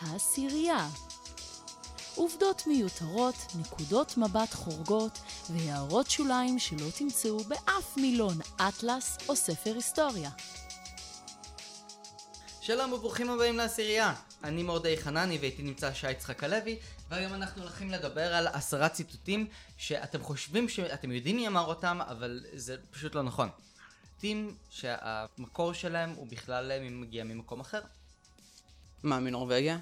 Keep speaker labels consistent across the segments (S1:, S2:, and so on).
S1: העשירייה. עובדות מיותרות, נקודות מבט חורגות והערות שוליים שלא תמצאו באף מילון אטלס או ספר היסטוריה.
S2: שלום וברוכים הבאים לעשירייה. אני מורדי חנני ואיתי נמצא שי יצחק הלוי, והיום אנחנו הולכים לדבר על עשרה ציטוטים שאתם חושבים שאתם יודעים מי אמר אותם, אבל זה פשוט לא נכון. ציטוטים שהמקור שלהם הוא בכלל אה, מגיע ממקום אחר,
S3: מה, מנורבגיה?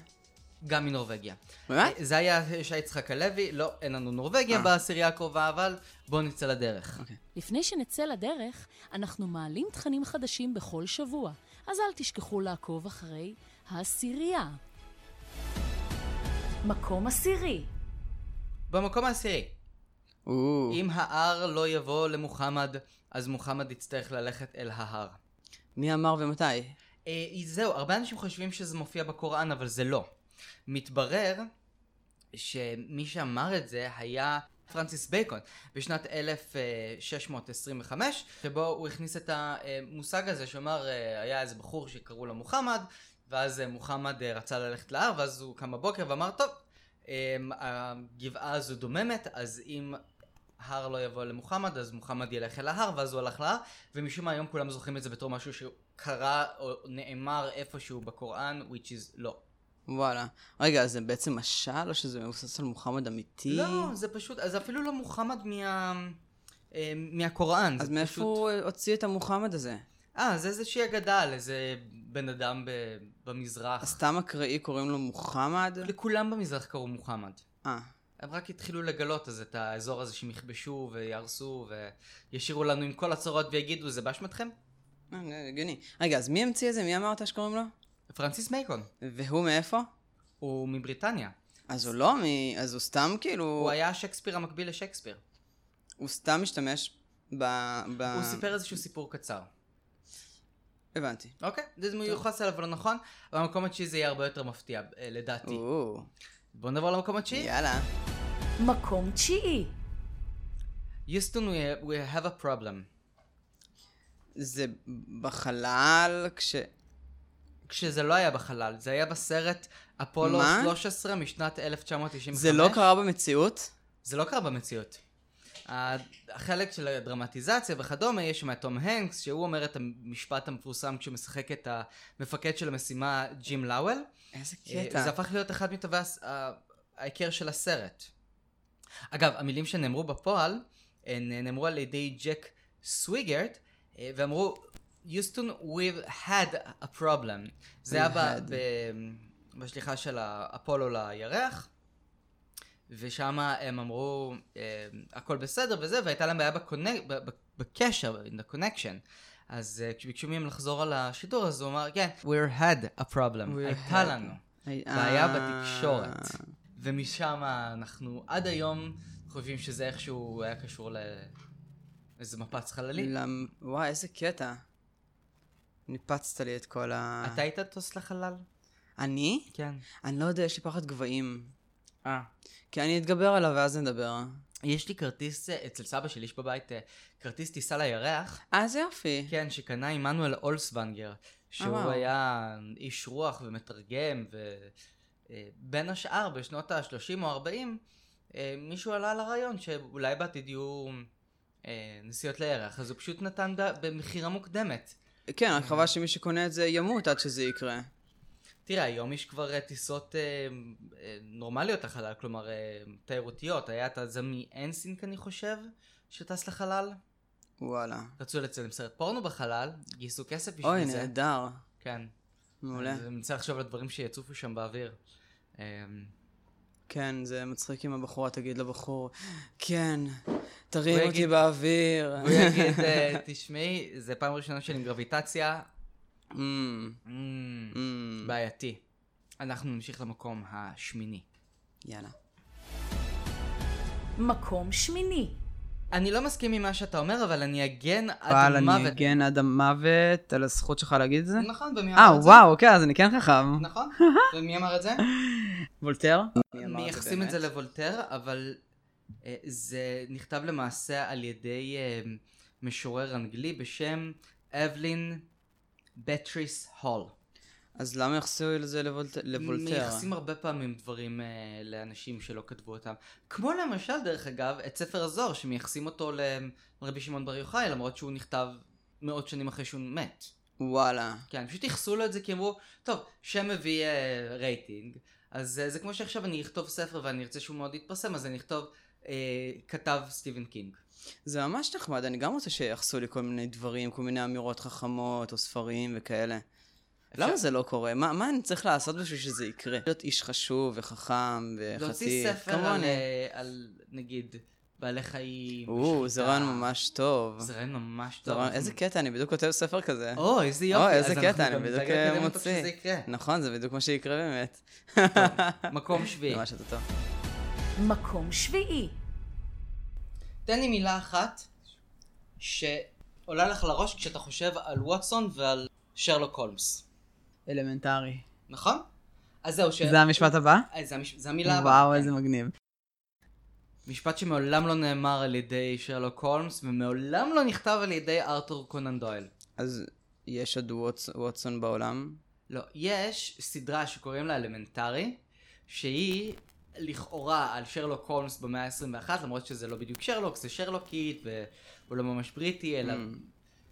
S2: גם מנורבגיה.
S3: באמת?
S2: זה היה שי יצחק הלוי, לא, אין לנו נורבגיה
S3: אה.
S2: בעשירייה הקרובה, אבל בואו נצא לדרך.
S1: לפני שנצא לדרך, אנחנו מעלים תכנים חדשים בכל שבוע, אז אל תשכחו לעקוב אחרי העשירייה. מקום עשירי
S2: במקום העשירי,
S3: או,
S2: אם ההר לא יבוא למוחמד, אז מוחמד יצטרך ללכת אל ההר.
S3: מי אמר ומתי?
S2: אה, זהו, הרבה אנשים חושבים שזה מופיע בקוראן, אבל זה לא. מתברר שמי שאמר את זה היה פרנסיס בייקון בשנת אה, 1625, שבו הוא הכניס את המושג הזה שאמר, אה, היה איזה בחור שקראו לו מוחמד, ואז אה, מוחמד אה, רצה ללכת להר, ואז הוא קם בבוקר ואמר, טוב, אה, הגבעה הזו דוממת, אז אם... הר לא יבוא למוחמד, אז מוחמד ילך אל ההר, ואז הוא הלך להר, ומשום מה היום כולם זוכרים את זה בתור משהו שקרה או נאמר איפשהו בקוראן, which is לא.
S3: וואלה. רגע, אז זה בעצם משל, או שזה מבוסס על מוחמד אמיתי?
S2: לא, זה פשוט, אז אפילו לא מוחמד מה... אה, מהקוראן.
S3: אז
S2: זה
S3: מאיפה
S2: פשוט-
S3: הוא הוציא את המוחמד הזה?
S2: אה, זה איזושהי אגדה על איזה בן אדם ב- במזרח.
S3: אז סתם אקראי קוראים לו מוחמד?
S2: לכולם במזרח קראו מוחמד.
S3: אה,
S2: הם רק התחילו לגלות אז את האזור הזה שהם יכבשו ויהרסו וישאירו לנו עם כל הצרות ויגידו, זה באשמתכם?
S3: אה, זה הגיוני. רגע, אז מי המציא את זה? מי אמרת שקוראים לו?
S2: פרנסיס מייקון,
S3: והוא מאיפה?
S2: הוא מבריטניה.
S3: אז הוא לא מ... אז הוא סתם כאילו...
S2: הוא היה שייקספיר המקביל לשייקספיר.
S3: הוא סתם משתמש ב... ב...
S2: הוא סיפר איזשהו סיפור קצר.
S3: הבנתי.
S2: אוקיי, זה מיוחס אליו לא נכון, במקום התשיעי זה יהיה הרבה יותר מפתיע, אה, לדעתי.
S3: או,
S2: בואו נעבור למקום התשיעי.
S3: יאללה.
S1: מקום תשיעי
S2: יוסטון, we- we have a problem.
S3: זה בחלל כש...
S2: כשזה לא היה בחלל, זה היה בסרט אפולו
S3: מה?
S2: 13 משנת 1995.
S3: זה לא קרה במציאות?
S2: זה לא קרה במציאות. ה- החלק של הדרמטיזציה וכדומה, יש שם את תום הנקס, שהוא אומר את המשפט המפורסם כשהוא משחק את המפקד של המשימה, ג'ים לאוול.
S3: איזה קטע.
S2: אה, זה הפך להיות אחד מטובי הס- ה- ההיכר של הסרט. אגב, המילים שנאמרו בפועל, הן נאמרו על ידי ג'ק סוויגרט, אה, ואמרו, יוסטון, we've had a problem. זה היה ב-
S3: had.
S2: ב- בשליחה של האפולו לירח, ושם הם אמרו, אה, הכל בסדר וזה, והייתה להם בעיה בקונק- ב- ב- בקשר, in the connection. אז אה, כשביקשו מהם לחזור על השידור, אז הוא אמר, כן, we're had a problem,
S3: We're
S2: הייתה
S3: had.
S2: לנו.
S3: היה-
S2: בעיה בתקשורת. אה. ומשם אנחנו עד היום חושבים שזה איכשהו היה קשור לאיזה מפץ חללי.
S3: למ... וואי, איזה קטע. ניפצת לי את כל ה...
S2: אתה היית טוס לחלל?
S3: אני?
S2: כן.
S3: אני לא יודע, יש לי פחד גבהים.
S2: אה.
S3: כי אני אתגבר עליו ואז נדבר.
S2: יש לי כרטיס אה, אצל סבא שלי, יש בבית אה, כרטיס טיסה לירח,
S3: אז יופי.
S2: כן, שקנה עמנואל אולסוונגר, שהוא
S3: אה, וואו.
S2: היה איש רוח ומתרגם, ובין השאר, בשנות ה-30 או 40, מישהו עלה על הרעיון שאולי בעתיד יהיו אה, נסיעות לירח, אז הוא פשוט נתן ב- במכירה מוקדמת.
S3: כן, רק חבל שמי שקונה את זה ימות עד שזה יקרה.
S2: תראה, היום יש כבר אה, טיסות אה, אה, נורמליות לחלל, כלומר אה, תיירותיות. היה את זה מאנסינק, אני חושב, שטס לחלל.
S3: וואלה.
S2: רצו לצלם סרט פורנו בחלל, גייסו כסף בשביל
S3: אוי,
S2: זה.
S3: נהדר.
S2: כן.
S3: מעולה.
S2: אני מנסה לחשוב על הדברים שיצופו שם באוויר. אמ,
S3: כן, זה מצחיק אם הבחורה תגיד לבחור, כן, תרים
S2: הוא
S3: אותי
S2: יגיד-
S3: באוויר.
S2: הוא יגיד, אה, תשמעי, זה פעם ראשונה שלי עם גרביטציה.
S3: אמ,
S2: אמ,
S3: אמ.
S2: בעייתי. אנחנו נמשיך למקום השמיני.
S3: יאללה.
S1: מקום שמיני
S2: אני לא מסכים עם מה שאתה אומר, אבל אני אגן
S3: אבל
S2: עד
S3: אני
S2: מוות.
S3: אגן עד המוות על הזכות שלך להגיד את זה?
S2: נכון, ומי
S3: אה,
S2: אמר את זה?
S3: וואו, אוקיי, אז אני כן חכם.
S2: נכון? ומי אמר את זה?
S3: וולטר?
S2: מייחסים את זה לוולטר, אבל אה, זה נכתב למעשה על ידי אה, משורר אנגלי בשם אבלין בטריס הול.
S3: אז למה יחסו את זה לבולט- לוולטר?
S2: מייחסים הרבה פעמים דברים אה, לאנשים שלא כתבו אותם. כמו למשל, דרך אגב, את ספר הזוהר, שמייחסים אותו לרבי שמעון בר יוחאי, למרות שהוא נכתב מאות שנים אחרי שהוא מת.
S3: וואלה.
S2: כן, פשוט ייחסו לו את זה כי אמרו, טוב, שם מביא אה, רייטינג, אז אה, זה כמו שעכשיו אני אכתוב ספר ואני ארצה שהוא מאוד יתפרסם, אז אני אכתוב, אה, כתב סטיבן קינג.
S3: זה ממש נחמד, אני גם רוצה שיחסו לי כל מיני דברים, כל מיני אמירות חכמות או ספרים וכאלה. למה זה לא קורה? מה, מה אני צריך לעשות בשביל שזה יקרה? להיות איש חשוב וחכם וחטיף.
S2: להוציא ספר על,
S3: כמוני.
S2: אה, על, נגיד, בעלי חיים.
S3: או,
S2: ושחיטה.
S3: זה רעיון ממש טוב.
S2: זה רעיון ממש טוב.
S3: זה
S2: נכון. אוקיי.
S3: רעיון- איזה קטע, אני בדיוק כותב ספר כזה.
S2: או, איזה יופי.
S3: או, איזה
S2: אז
S3: קטע,
S2: אנחנו
S3: אני
S2: גם
S3: בדיוק, אה,
S2: נקדם אותו
S3: מוציא.
S2: כשזה יקרה.
S3: נכון, זה בדיוק מה שיקרה באמת.
S2: אוקיי. טוב, מקום שביעי.
S3: זה ממש יותר טוב.
S1: מקום שביעי.
S2: תן לי מילה אחת שעולה לך לראש כשאתה חושב על ווטסון ועל שרלוק הולמס.
S4: אלמנטרי.
S2: נכון? אז זהו, ש...
S4: זה המשפט הבא?
S2: אה, זה, המש... זה המילה כן. הבאה. כן.
S4: וואו, איזה מגניב.
S2: משפט שמעולם לא נאמר על ידי שרלוק הולמס ומעולם לא נכתב על ידי ארתור קונן דויל.
S3: אז יש עוד ווטס- ווטסון בעולם?
S2: לא, יש סדרה שקוראים לה אלמנטרי, שהיא לכאורה על שרלוק הולמס במאה ה-21, למרות שזה לא בדיוק שרלוק, זה שרלוקית, והוא לא ממש בריטי, אלא
S3: Mm.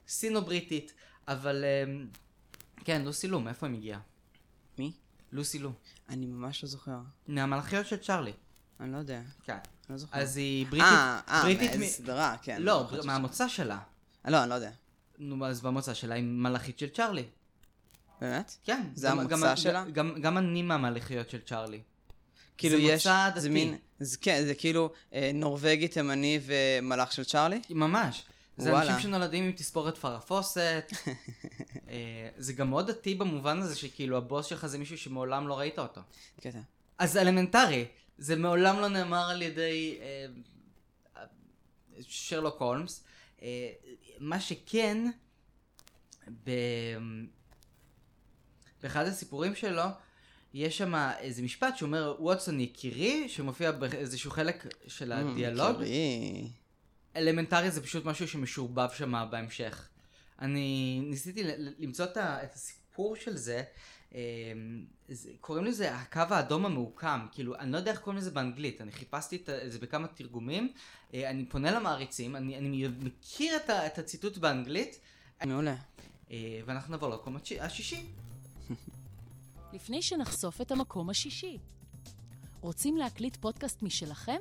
S2: סינו-בריטית, אבל... אמ, כן, לוסי לו, מאיפה הם הגיעה?
S3: מי?
S2: לוסי לו.
S3: אני ממש לא זוכר.
S2: מהמלאכיות של צ'ארלי.
S3: אני לא יודע.
S2: כן.
S3: אני לא זוכר.
S2: אז היא בריטית...
S3: אה, אה,
S2: בריטית
S3: מאיזה
S2: מ-
S3: סדרה, כן.
S2: לא,
S3: חשבתי ש-
S2: מהמוצא שלה.
S3: אה, לא, אני לא יודע.
S2: נו, אז במוצא שלה היא מלאכית של צ'ארלי.
S3: באמת?
S2: כן.
S3: זה
S2: גם-
S3: המוצא
S2: גם-
S3: שלה?
S2: גם- גם אני מהמלאכיות של צ'ארלי.
S3: כאילו
S2: זה
S3: יש,
S2: מוצא דתי.
S3: זה מין, זה כן, זה כאילו אה, נורבגי, תימני ומלאך של צ'ארלי?
S2: ממש. זה
S3: וואלה.
S2: אנשים שנולדים עם תספורת פרפוסת. אה, זה גם מאוד דתי במובן הזה שכאילו הבוס שלך זה מישהו שמעולם לא ראית אותו.
S3: קטע.
S2: אז אלמנטרי, זה מעולם לא נאמר על ידי אה, אה, שרלוק הולמס. אה, מה שכן, ב... באחד הסיפורים שלו, יש שם איזה משפט שאומר, ווטסון יקירי, שמופיע באיזשהו חלק של
S3: Mm,
S2: הדיאלוג.
S3: קרי.
S2: אלמנטרי זה פשוט משהו שמשורבב שם בהמשך. אני ניסיתי ל- ל- למצוא את ה- את הסיפור של זה, אמ, זה- קוראים לזה הקו האדום המעוקם, כאילו, אני לא יודע איך קוראים לזה באנגלית, אני חיפשתי את ה- את זה בכמה תרגומים, אה, אני פונה למעריצים, אני, אני מכיר את, ה, את הציטוט באנגלית,
S3: מעולה.
S2: אה, ואנחנו נעבור למקום התש- השישי.
S1: לפני שנחשוף את המקום השישי. רוצים להקליט פודקאסט משלכם?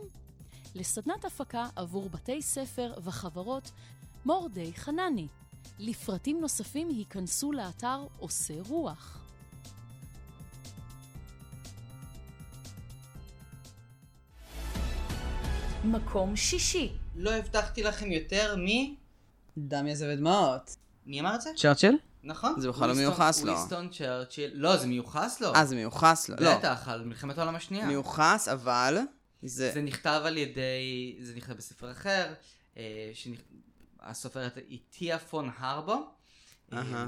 S1: לסדנת הפקה עבור בתי ספר וחברות מורדי חנני. לפרטים נוספים היכנסו לאתר עושה רוח. מקום שישי
S2: לא הבטחתי לכם יותר מ...
S4: דם יזע ודמעות.
S2: מי אמר את זה?
S4: צ'רצ'יל?
S2: נכון?
S3: זה בכלל לא
S2: ווינסטון-
S3: מיוחס לו.
S2: ווינסטון צ'רצ'יל. לא, זה מיוחס לו.
S3: אה, זה מיוחס לו. לא.
S2: בטח, על מלחמת העולם השנייה.
S3: מיוחס, אבל... זה...
S2: זה נכתב על ידי, זה נכתב בספר אחר, אה, שנכ... הסופרת היא טיה פון הרבו. אה,
S3: אהה.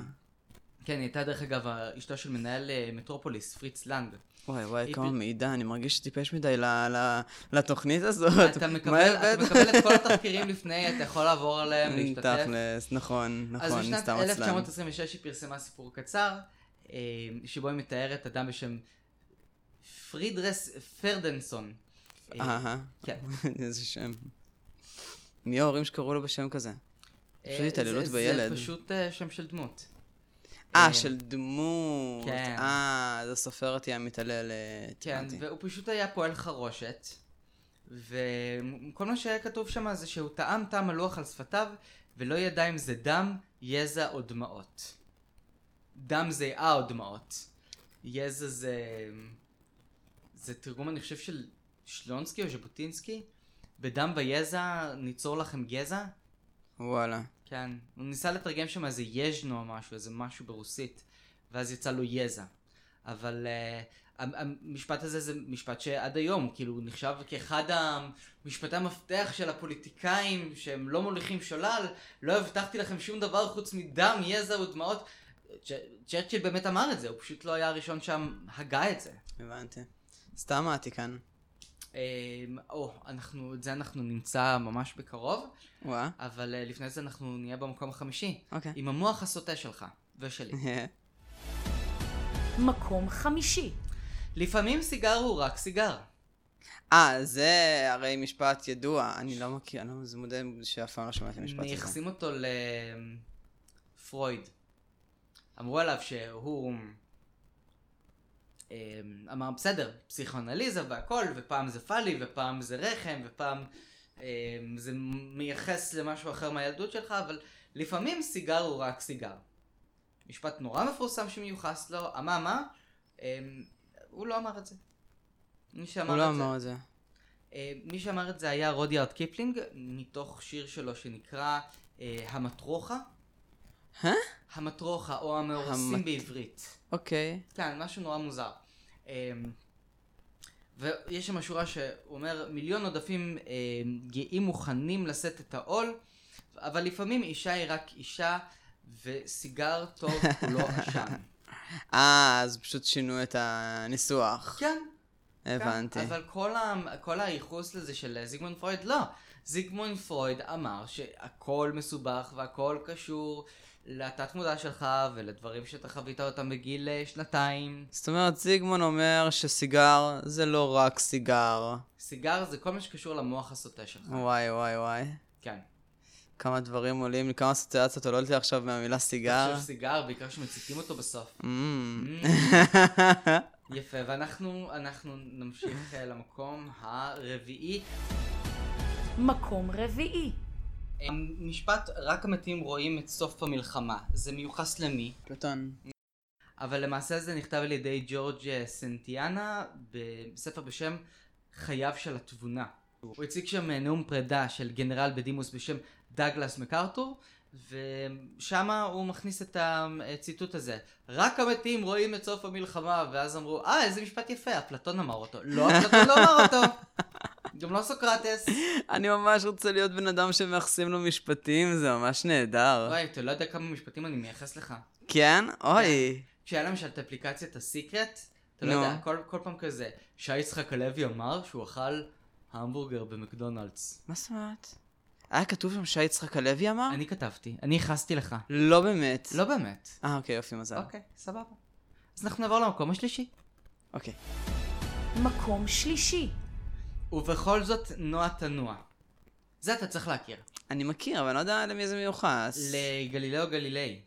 S2: כן, היא הייתה דרך אגב אשתו של מנהל אה, מטרופוליס, פריץ לנג.
S3: וואי וואי,
S2: היא
S3: כמה
S2: פ-
S3: מידע, אני מרגיש שטיפש מדי ל- ל- לתוכנית הזאת.
S2: אתה
S3: מה
S2: מקבל,
S3: הבאת?
S2: אתה מקבל את כל התחקירים לפני, אתה יכול לעבור עליהם, להשתתף.
S3: תכלס, נכון,
S2: אז
S3: נכון, אני
S2: בשנת
S3: סתם עצלן.
S2: 1926 היא פרסמה סיפור קצר, אה, שבו היא מתארת אדם בשם פרידרס פרדנסון. אה,
S3: אהה.
S2: כן.
S3: איזה שם. מי ההורים שקראו לו בשם כזה? פשוט
S2: אה,
S3: התעללות
S2: זה-
S3: בילד.
S2: זה פשוט אה, שם של דמות.
S3: אה, של דמות.
S2: כן.
S3: אה, זו סופרת היא המתעללת.
S2: כן,
S3: הבנתי.
S2: והוא פשוט היה פועל חרושת, וכל מה שהיה כתוב שם זה שהוא טעם טעם הלוח על שפתיו, ולא ידע אם זה דם, יזע או דמעות. דם זה אה או דמעות. יזע זה... זה תרגום, אני חושב, של שלונסקי או ז'בוטינסקי. בדם ויזע ניצור לכם גזע?
S3: וואלה.
S2: כן. הוא ניסה לתרגם שם איזה יז'נו או משהו, איזה משהו ברוסית, ואז יצא לו יזע. אבל uh, המשפט הזה זה משפט שעד היום, כאילו, הוא נחשב כאחד המשפטי המפתח של הפוליטיקאים, שהם לא מוליכים שולל, לא הבטחתי לכם שום דבר חוץ מדם, יזע ודמעות. צ'- צ'רצ'יל באמת אמר את זה, הוא פשוט לא היה הראשון שם הגה את זה.
S3: הבנתי. סתם מעטי כאן.
S2: אמ, או, אנחנו, את זה אנחנו נמצא ממש בקרוב,
S3: וואה,
S2: אבל אה, לפני זה אנחנו נהיה במקום החמישי.
S3: אוקיי.
S2: עם המוח הסוטה שלך ושלי.
S1: מקום חמישי.
S2: לפעמים סיגר הוא רק סיגר.
S3: אה, זה הרי משפט ידוע. אני לא מכיר, אני לא זה מודה שאף פעם לא שמעתי משפט הזה.
S2: מייחסים אותו לפרויד. אמרו עליו שהוא אמ, אמר בסדר, פסיכואנליזה והכל, ופעם זה פאלי, ופעם זה רחם, ופעם אמ, זה מייחס למשהו אחר מהילדות שלך, אבל לפעמים סיגר הוא רק סיגר. משפט נורא מפורסם שמיוחס לו, אממה, אמ, הוא לא אמר את זה. מי שאמר
S3: הוא לא
S2: את זה-
S3: אמר את זה.
S2: אה, מי שאמר את זה היה רודיארד קיפלינג, מתוך שיר שלו שנקרא אה, המטרוחה.
S3: אה?
S2: המטרוחה, או המאורסים
S3: המת-
S2: בעברית.
S3: אוקיי.
S2: כן, משהו נורא מוזר. אה, ויש שם שורה שאומר, מיליון עודפים אה, גאים מוכנים לשאת את העול, אבל לפעמים אישה היא רק אישה, וסיגר טוב הוא לא עשן.
S3: אה, אז פשוט שינו את הניסוח.
S2: כן, כן,
S3: הבנתי.
S2: אבל כל, ה... כל הייחוס לזה של זיגמונד פרויד, לא. זיגמונד פרויד אמר שהכל מסובך והכל קשור לתת מודע שלך ולדברים שאתה חווית אותם בגיל אה, שנתיים.
S3: זאת אומרת, זיגמון אומר שסיגר זה לא רק סיגר.
S2: סיגר זה כל מה שקשור למוח הסוטה שלך.
S3: וואי, וואי, וואי.
S2: כן.
S3: כמה דברים עולים לי, כמה אסוציאציות עולות לי עכשיו מהמילה סיגר.
S2: תחשוב סיגר, בעיקר שמציתים אותו בסוף.
S3: אמ.
S2: יפה, ואנחנו אנחנו נמשיך אה, למקום הרביעי.
S1: מקום רביעי.
S2: המשפט אמ, רק המתים רואים את סוף המלחמה. זה מיוחס למי?
S4: פלטון.
S2: אבל למעשה זה נכתב על ידי ג'ורג' אה, סנטיאנה בספר בשם חייו של התבונה. הוא הציג שם אה, נאום פרידה של גנרל בדימוס בשם דגלס מקארתור, ושם הוא מכניס את הציטוט הזה. רק המתים רואים את סוף המלחמה, ואז אמרו, אה, איזה משפט יפה, אפלטון אמר אותו. לא, אפלטון לא אמר אותו. גם לא סוקרטס.
S3: אני ממש רוצה להיות בן אדם שמייחסים לו משפטים, זה ממש נהדר.
S2: וואי, אתה לא יודע כמה משפטים אני מייחס לך.
S3: כן? אוי.
S2: כשהיה למשל את אפליקציית הסיקרט, אתה לא
S3: נו.
S2: יודע, כל, כל פעם כזה, שי יצחק הלוי אמר שהוא אכל המבורגר במקדונלדס.
S3: מה זאת אומרת? היה כתוב שם שי יצחק הלוי אמר?
S2: אני כתבתי, אני ייחסתי לך.
S3: לא באמת.
S2: לא באמת.
S3: אה, אוקיי, יופי, מזל.
S2: אוקיי, סבבה. אז אנחנו נעבור למקום השלישי.
S3: אוקיי.
S1: מקום שלישי.
S2: ובכל זאת, נוע תנוע. זה אתה צריך להכיר.
S3: אני מכיר, אבל אני לא יודע למי זה מיוחס.
S2: לגלילאו גליליי.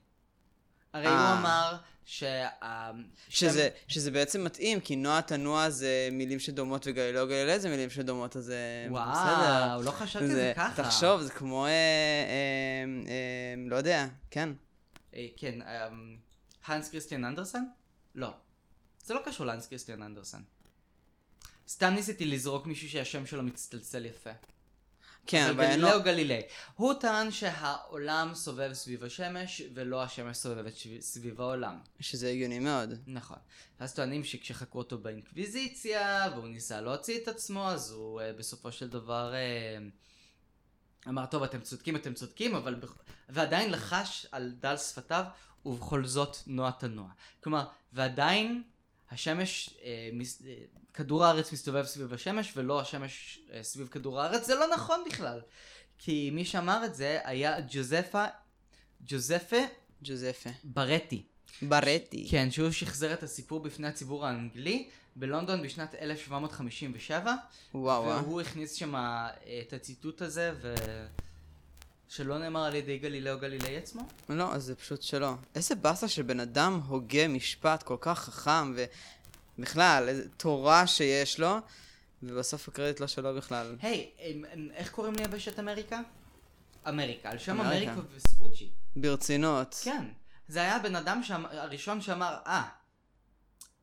S2: הרי
S3: אה.
S2: הוא אמר שה...
S3: שזה, שזה בעצם מתאים, כי נוע תנוע זה מילים שדומות וגלילאו גלילי זה מילים שדומות, אז זה בסדר.
S2: וואו, לא חשבתי על זה ככה.
S3: תחשוב, זה כמו, אה, אה, אה, לא יודע, כן.
S2: אה, כן, אמ, הנס כריסטיאן אנדרסן? לא. זה לא קשור להנס כריסטיאן אנדרסן. סתם ניסיתי לזרוק מישהו שהשם שלו מצטלצל יפה.
S3: כן,
S2: אבל
S3: אבל אין לו...
S2: גלילאו גלילי. הוא טען שהעולם סובב סביב השמש, ולא השמש סובבת שב- סביב העולם.
S3: שזה הגיוני מאוד.
S2: נכון. אז טוענים שכשחקרו אותו באינקוויזיציה, והוא ניסה להוציא את עצמו, אז הוא uh, בסופו של דבר uh, אמר, טוב, אתם צודקים, אתם צודקים, אבל... בכ... ועדיין לחש על דל שפתיו, ובכל זאת נוע תנוע. כלומר, ועדיין השמש, uh, מס... uh, כדור הארץ מסתובב סביב השמש, ולא השמש uh, סביב כדור הארץ, זה לא נכון בכלל. כי מי שאמר את זה היה ג'וזפה, ג'וזפה
S3: ג'וזפה.
S2: ברטי.
S3: ברטי.
S2: כן, שהוא שחזר את הסיפור בפני הציבור האנגלי בלונדון בשנת 1757,
S3: וואו. אה. וואו.
S2: והוא הכניס שם את הציטוט הזה, ו... שלא נאמר על ידי גלילאו גלילי עצמו.
S3: לא, אז זה פשוט שלא. איזה באסה שבן אדם הוגה משפט כל כך חכם, ובכלל, איזה תורה שיש לו, ובסוף הקרדיט לא שלו בכלל.
S2: היי, הם- הם- איך קוראים ליבשת אמריקה? אמריקה, על שם
S3: אמריקה.
S2: אמריקה וספוצ'י.
S3: ברצינות.
S2: כן, זה היה הבן אדם שאמ- הראשון שאמר, אה,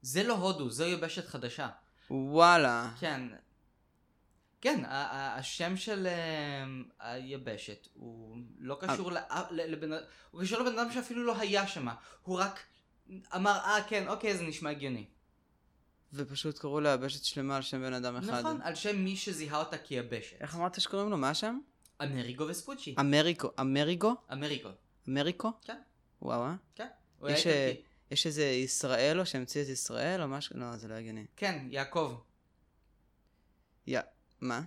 S2: זה לא הודו, זו יבשת חדשה.
S3: וואלה.
S2: כן. כן, ה- ה- השם של אמ, היבשת הוא לא קשור
S3: אה.
S2: לאף- ל- לבן אדם, הוא קשור לבן אדם שאפילו לא היה שם, הוא רק אמר, אה, כן, אוקיי, זה נשמע הגיוני.
S3: ופשוט קראו ליבשת שלמה על שם בן אדם אחד.
S2: נכון, על שם מי שזיהה אותה כיבשת.
S3: איך אמרת שקוראים לו? מה השם?
S2: אמריקו וספוצ'י.
S3: אמריקו. אמריגו?
S2: אמריקו.
S3: אמריקו?
S2: כן. וואו.
S3: וואו, אה?
S2: כן. הוא היה
S3: יש, אה,
S2: איטלקי.
S3: יש איזה ישראל או שהמציא את ישראל או משהו? לא, זה לא הגיוני.
S2: כן, יעקב.
S3: יא... מה?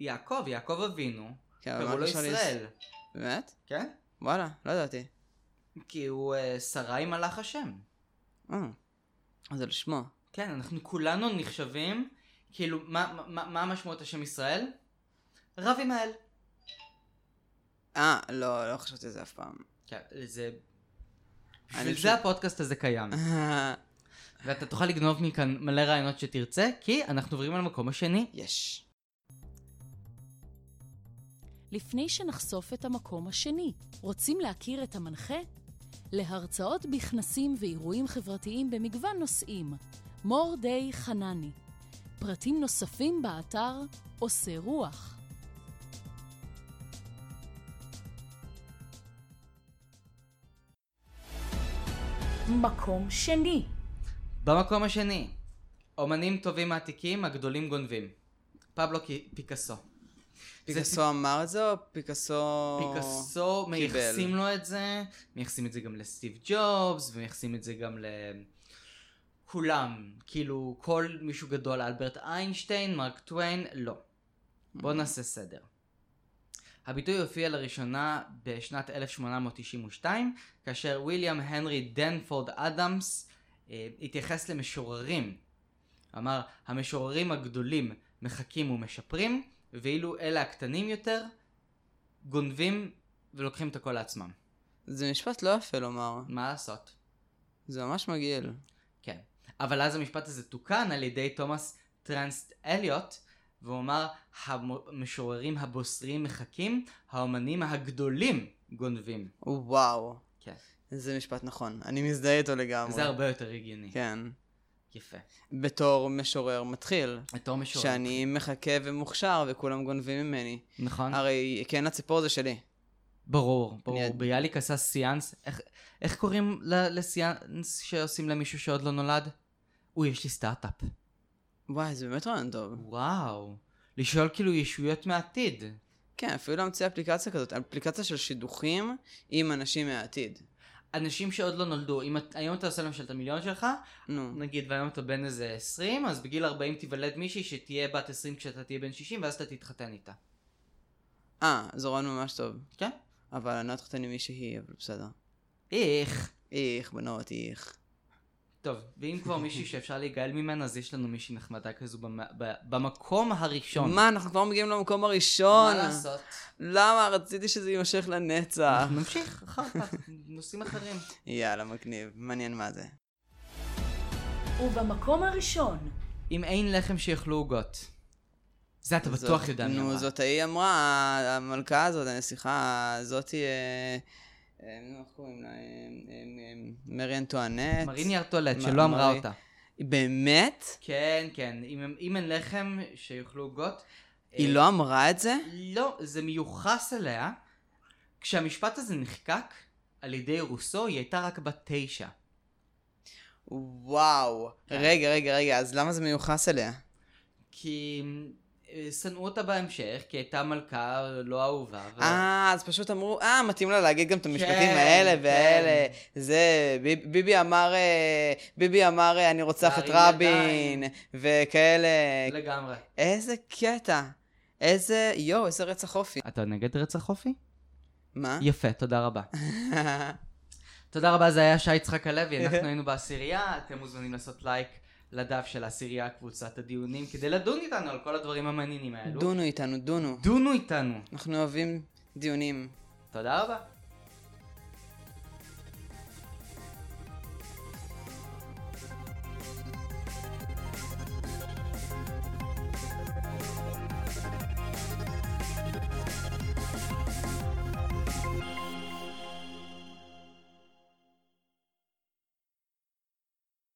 S2: יעקב, יעקב אבינו,
S3: כן, אבל
S2: קראו
S3: מה
S2: לו
S3: קשור ליש-
S2: ישראל.
S3: באמת?
S2: כן?
S3: וואלה, לא ידעתי.
S2: כי הוא אה, שרה עם מלאך השם.
S3: אה, זה על שמו.
S2: כן, אנחנו כולנו נחשבים, כאילו, מה, מה- מה, מה משמעות השם ישראל? רב עם האל.
S3: אה, לא, לא חשבתי על זה אף פעם.
S2: כן, זה...
S3: אני
S2: בשביל
S3: חושב-
S2: זה הפודקאסט הזה קיים. ואתה תוכל לגנוב מכאן מלא רעיונות שתרצה, כי אנחנו עוברים למקום השני.
S3: יש.
S1: לפני שנחשוף את המקום השני, רוצים להכיר את המנחה? להרצאות בכנסים ואירועים חברתיים במגוון נושאים, מור די חנני. פרטים נוספים באתר עושה רוח. מקום שני
S2: במקום השני, אומנים טובים מעתיקים, הגדולים גונבים. פבלו ק- פיקאסו.
S3: פיקאסו אמר את זה או פיקאסו...
S2: פיקאסו,
S3: קיבל.
S2: מייחסים לו את זה, מייחסים את זה גם לסטיב ג'ובס, ומייחסים את זה גם ל... כולם, כאילו כל מישהו גדול, אלברט איינשטיין, מרק טוויין, לא.
S3: Mm.
S2: בואו נעשה סדר. הביטוי הופיע לראשונה בשנת 1892, כאשר ויליאם הנרי דנפורד אדמס אה, התייחס למשוררים. אמר, המשוררים הגדולים מחקים ומשפרים, ואילו אלה הקטנים יותר גונבים ולוקחים את הכל לעצמם.
S3: זה משפט לא יפה לומר.
S2: מה לעשות?
S3: זה ממש מגעיל.
S2: כן. אבל אז המשפט הזה תוקן על ידי תומאס טרנסט אליוט, והוא אמר, המשוררים הבוסריים מחכים, האומנים הגדולים גונבים.
S3: וואו.
S2: כן.
S3: זה משפט נכון. אני מזדהה איתו לגמרי.
S2: זה הרבה יותר הגיוני.
S3: כן.
S2: יפה.
S3: בתור משורר מתחיל.
S2: בתור משורר.
S3: שאני מחכה ומוכשר וכולם גונבים ממני.
S2: נכון?
S3: הרי כן הציפור זה שלי.
S2: ברור,
S3: אני-
S2: ברור. ביאליק עשה סיאנס. איך- איך קוראים ל- לסיאנס שעושים למישהו שעוד לא נולד? הוא, יש לי סטארט-אפ.
S3: וואי, זה באמת רעיון טוב.
S2: וואו. לשאול כאילו ישויות מהעתיד.
S3: כן, אפילו להמציא אפליקציה כזאת, אפליקציה של שידוכים עם אנשים מהעתיד.
S2: אנשים שעוד לא נולדו, אם את- היום אתה עושה למשל את המיליון שלך,
S3: נו,
S2: נגיד והיום אתה בן איזה 20, אז בגיל 40 תיוולד מישהי שתהיה בת 20 כשאתה תהיה בן 60, ואז אתה תתחתן איתה.
S3: אה, זה רעיון ממש טוב.
S2: כן?
S3: אבל אני לא אתחתן עם מישהי, אבל בסדר.
S2: איך.
S3: איך, בנות, איך.
S2: טוב, ואם כבר מישהי שאפשר להיגאל ממנה, אז יש לנו מישהי נחמדה כזו במ- ב- במקום הראשון.
S3: מה, לא? אנחנו כבר מגיעים למקום
S2: מה
S3: הראשון?
S2: לעשות?
S3: למה? רציתי שזה יימשך לנצח.
S2: אנחנו אה, נמשיך אחר כך, נושאים אחרים.
S3: יאללה, מגניב. מעניין מה זה.
S1: ובמקום הראשון,
S2: אם אין לחם שיאכלו עוגות. זה אתה בטוח
S3: זאת-
S2: יודע מי
S3: נו,
S2: אמרה.
S3: זאת ההיא אמרה, המלכה הזאת, הנסיכה הזאתי, אה, אה, נו, איך קוראים לה? אה, אה, אה, מרי אנטואנט.
S2: מריני ארטולט,
S3: מה-
S2: שלא אמרה
S3: מרי-
S2: אותה.
S3: באמת?
S2: כן, כן, אם- אם אין לחם שיאכלו עוגות.
S3: היא
S2: אה,
S3: לא אמרה את זה?
S2: לא, זה מיוחס אליה. כשהמשפט הזה נחקק על ידי רוסו, היא הייתה רק בת תשע.
S3: וואו.
S2: כן.
S3: רגע, רגע, רגע, אז למה זה מיוחס אליה?
S2: כי אה, שנאו אותה בהמשך, כי הייתה מלכה לא אהובה. ו-
S3: אה, אז פשוט אמרו, אה, מתאים לה להגיד גם את המשפטים
S2: כן,
S3: האלה
S2: כן.
S3: והאלה. זה, ביב- ביבי אמר, אה, ביבי אמר, אה, אני רוצח את
S2: להרים
S3: רבין,
S2: ידיים.
S3: וכאלה.
S2: לגמרי.
S3: איזה קטע. איזה, יואו, איזה רצח אופי.
S2: אתה נגד רצח אופי?
S3: מה?
S2: יפה, תודה רבה. תודה רבה, זה היה שי יצחק הלוי, אנחנו היינו בעשירייה, אתם מוזמנים לעשות לייק לדף של העשירייה, קבוצת הדיונים, כדי לדון איתנו על כל הדברים המעניינים האלו.
S3: דונו איתנו, דונו.
S2: דונו איתנו.
S3: אנחנו אוהבים דיונים.
S2: תודה רבה.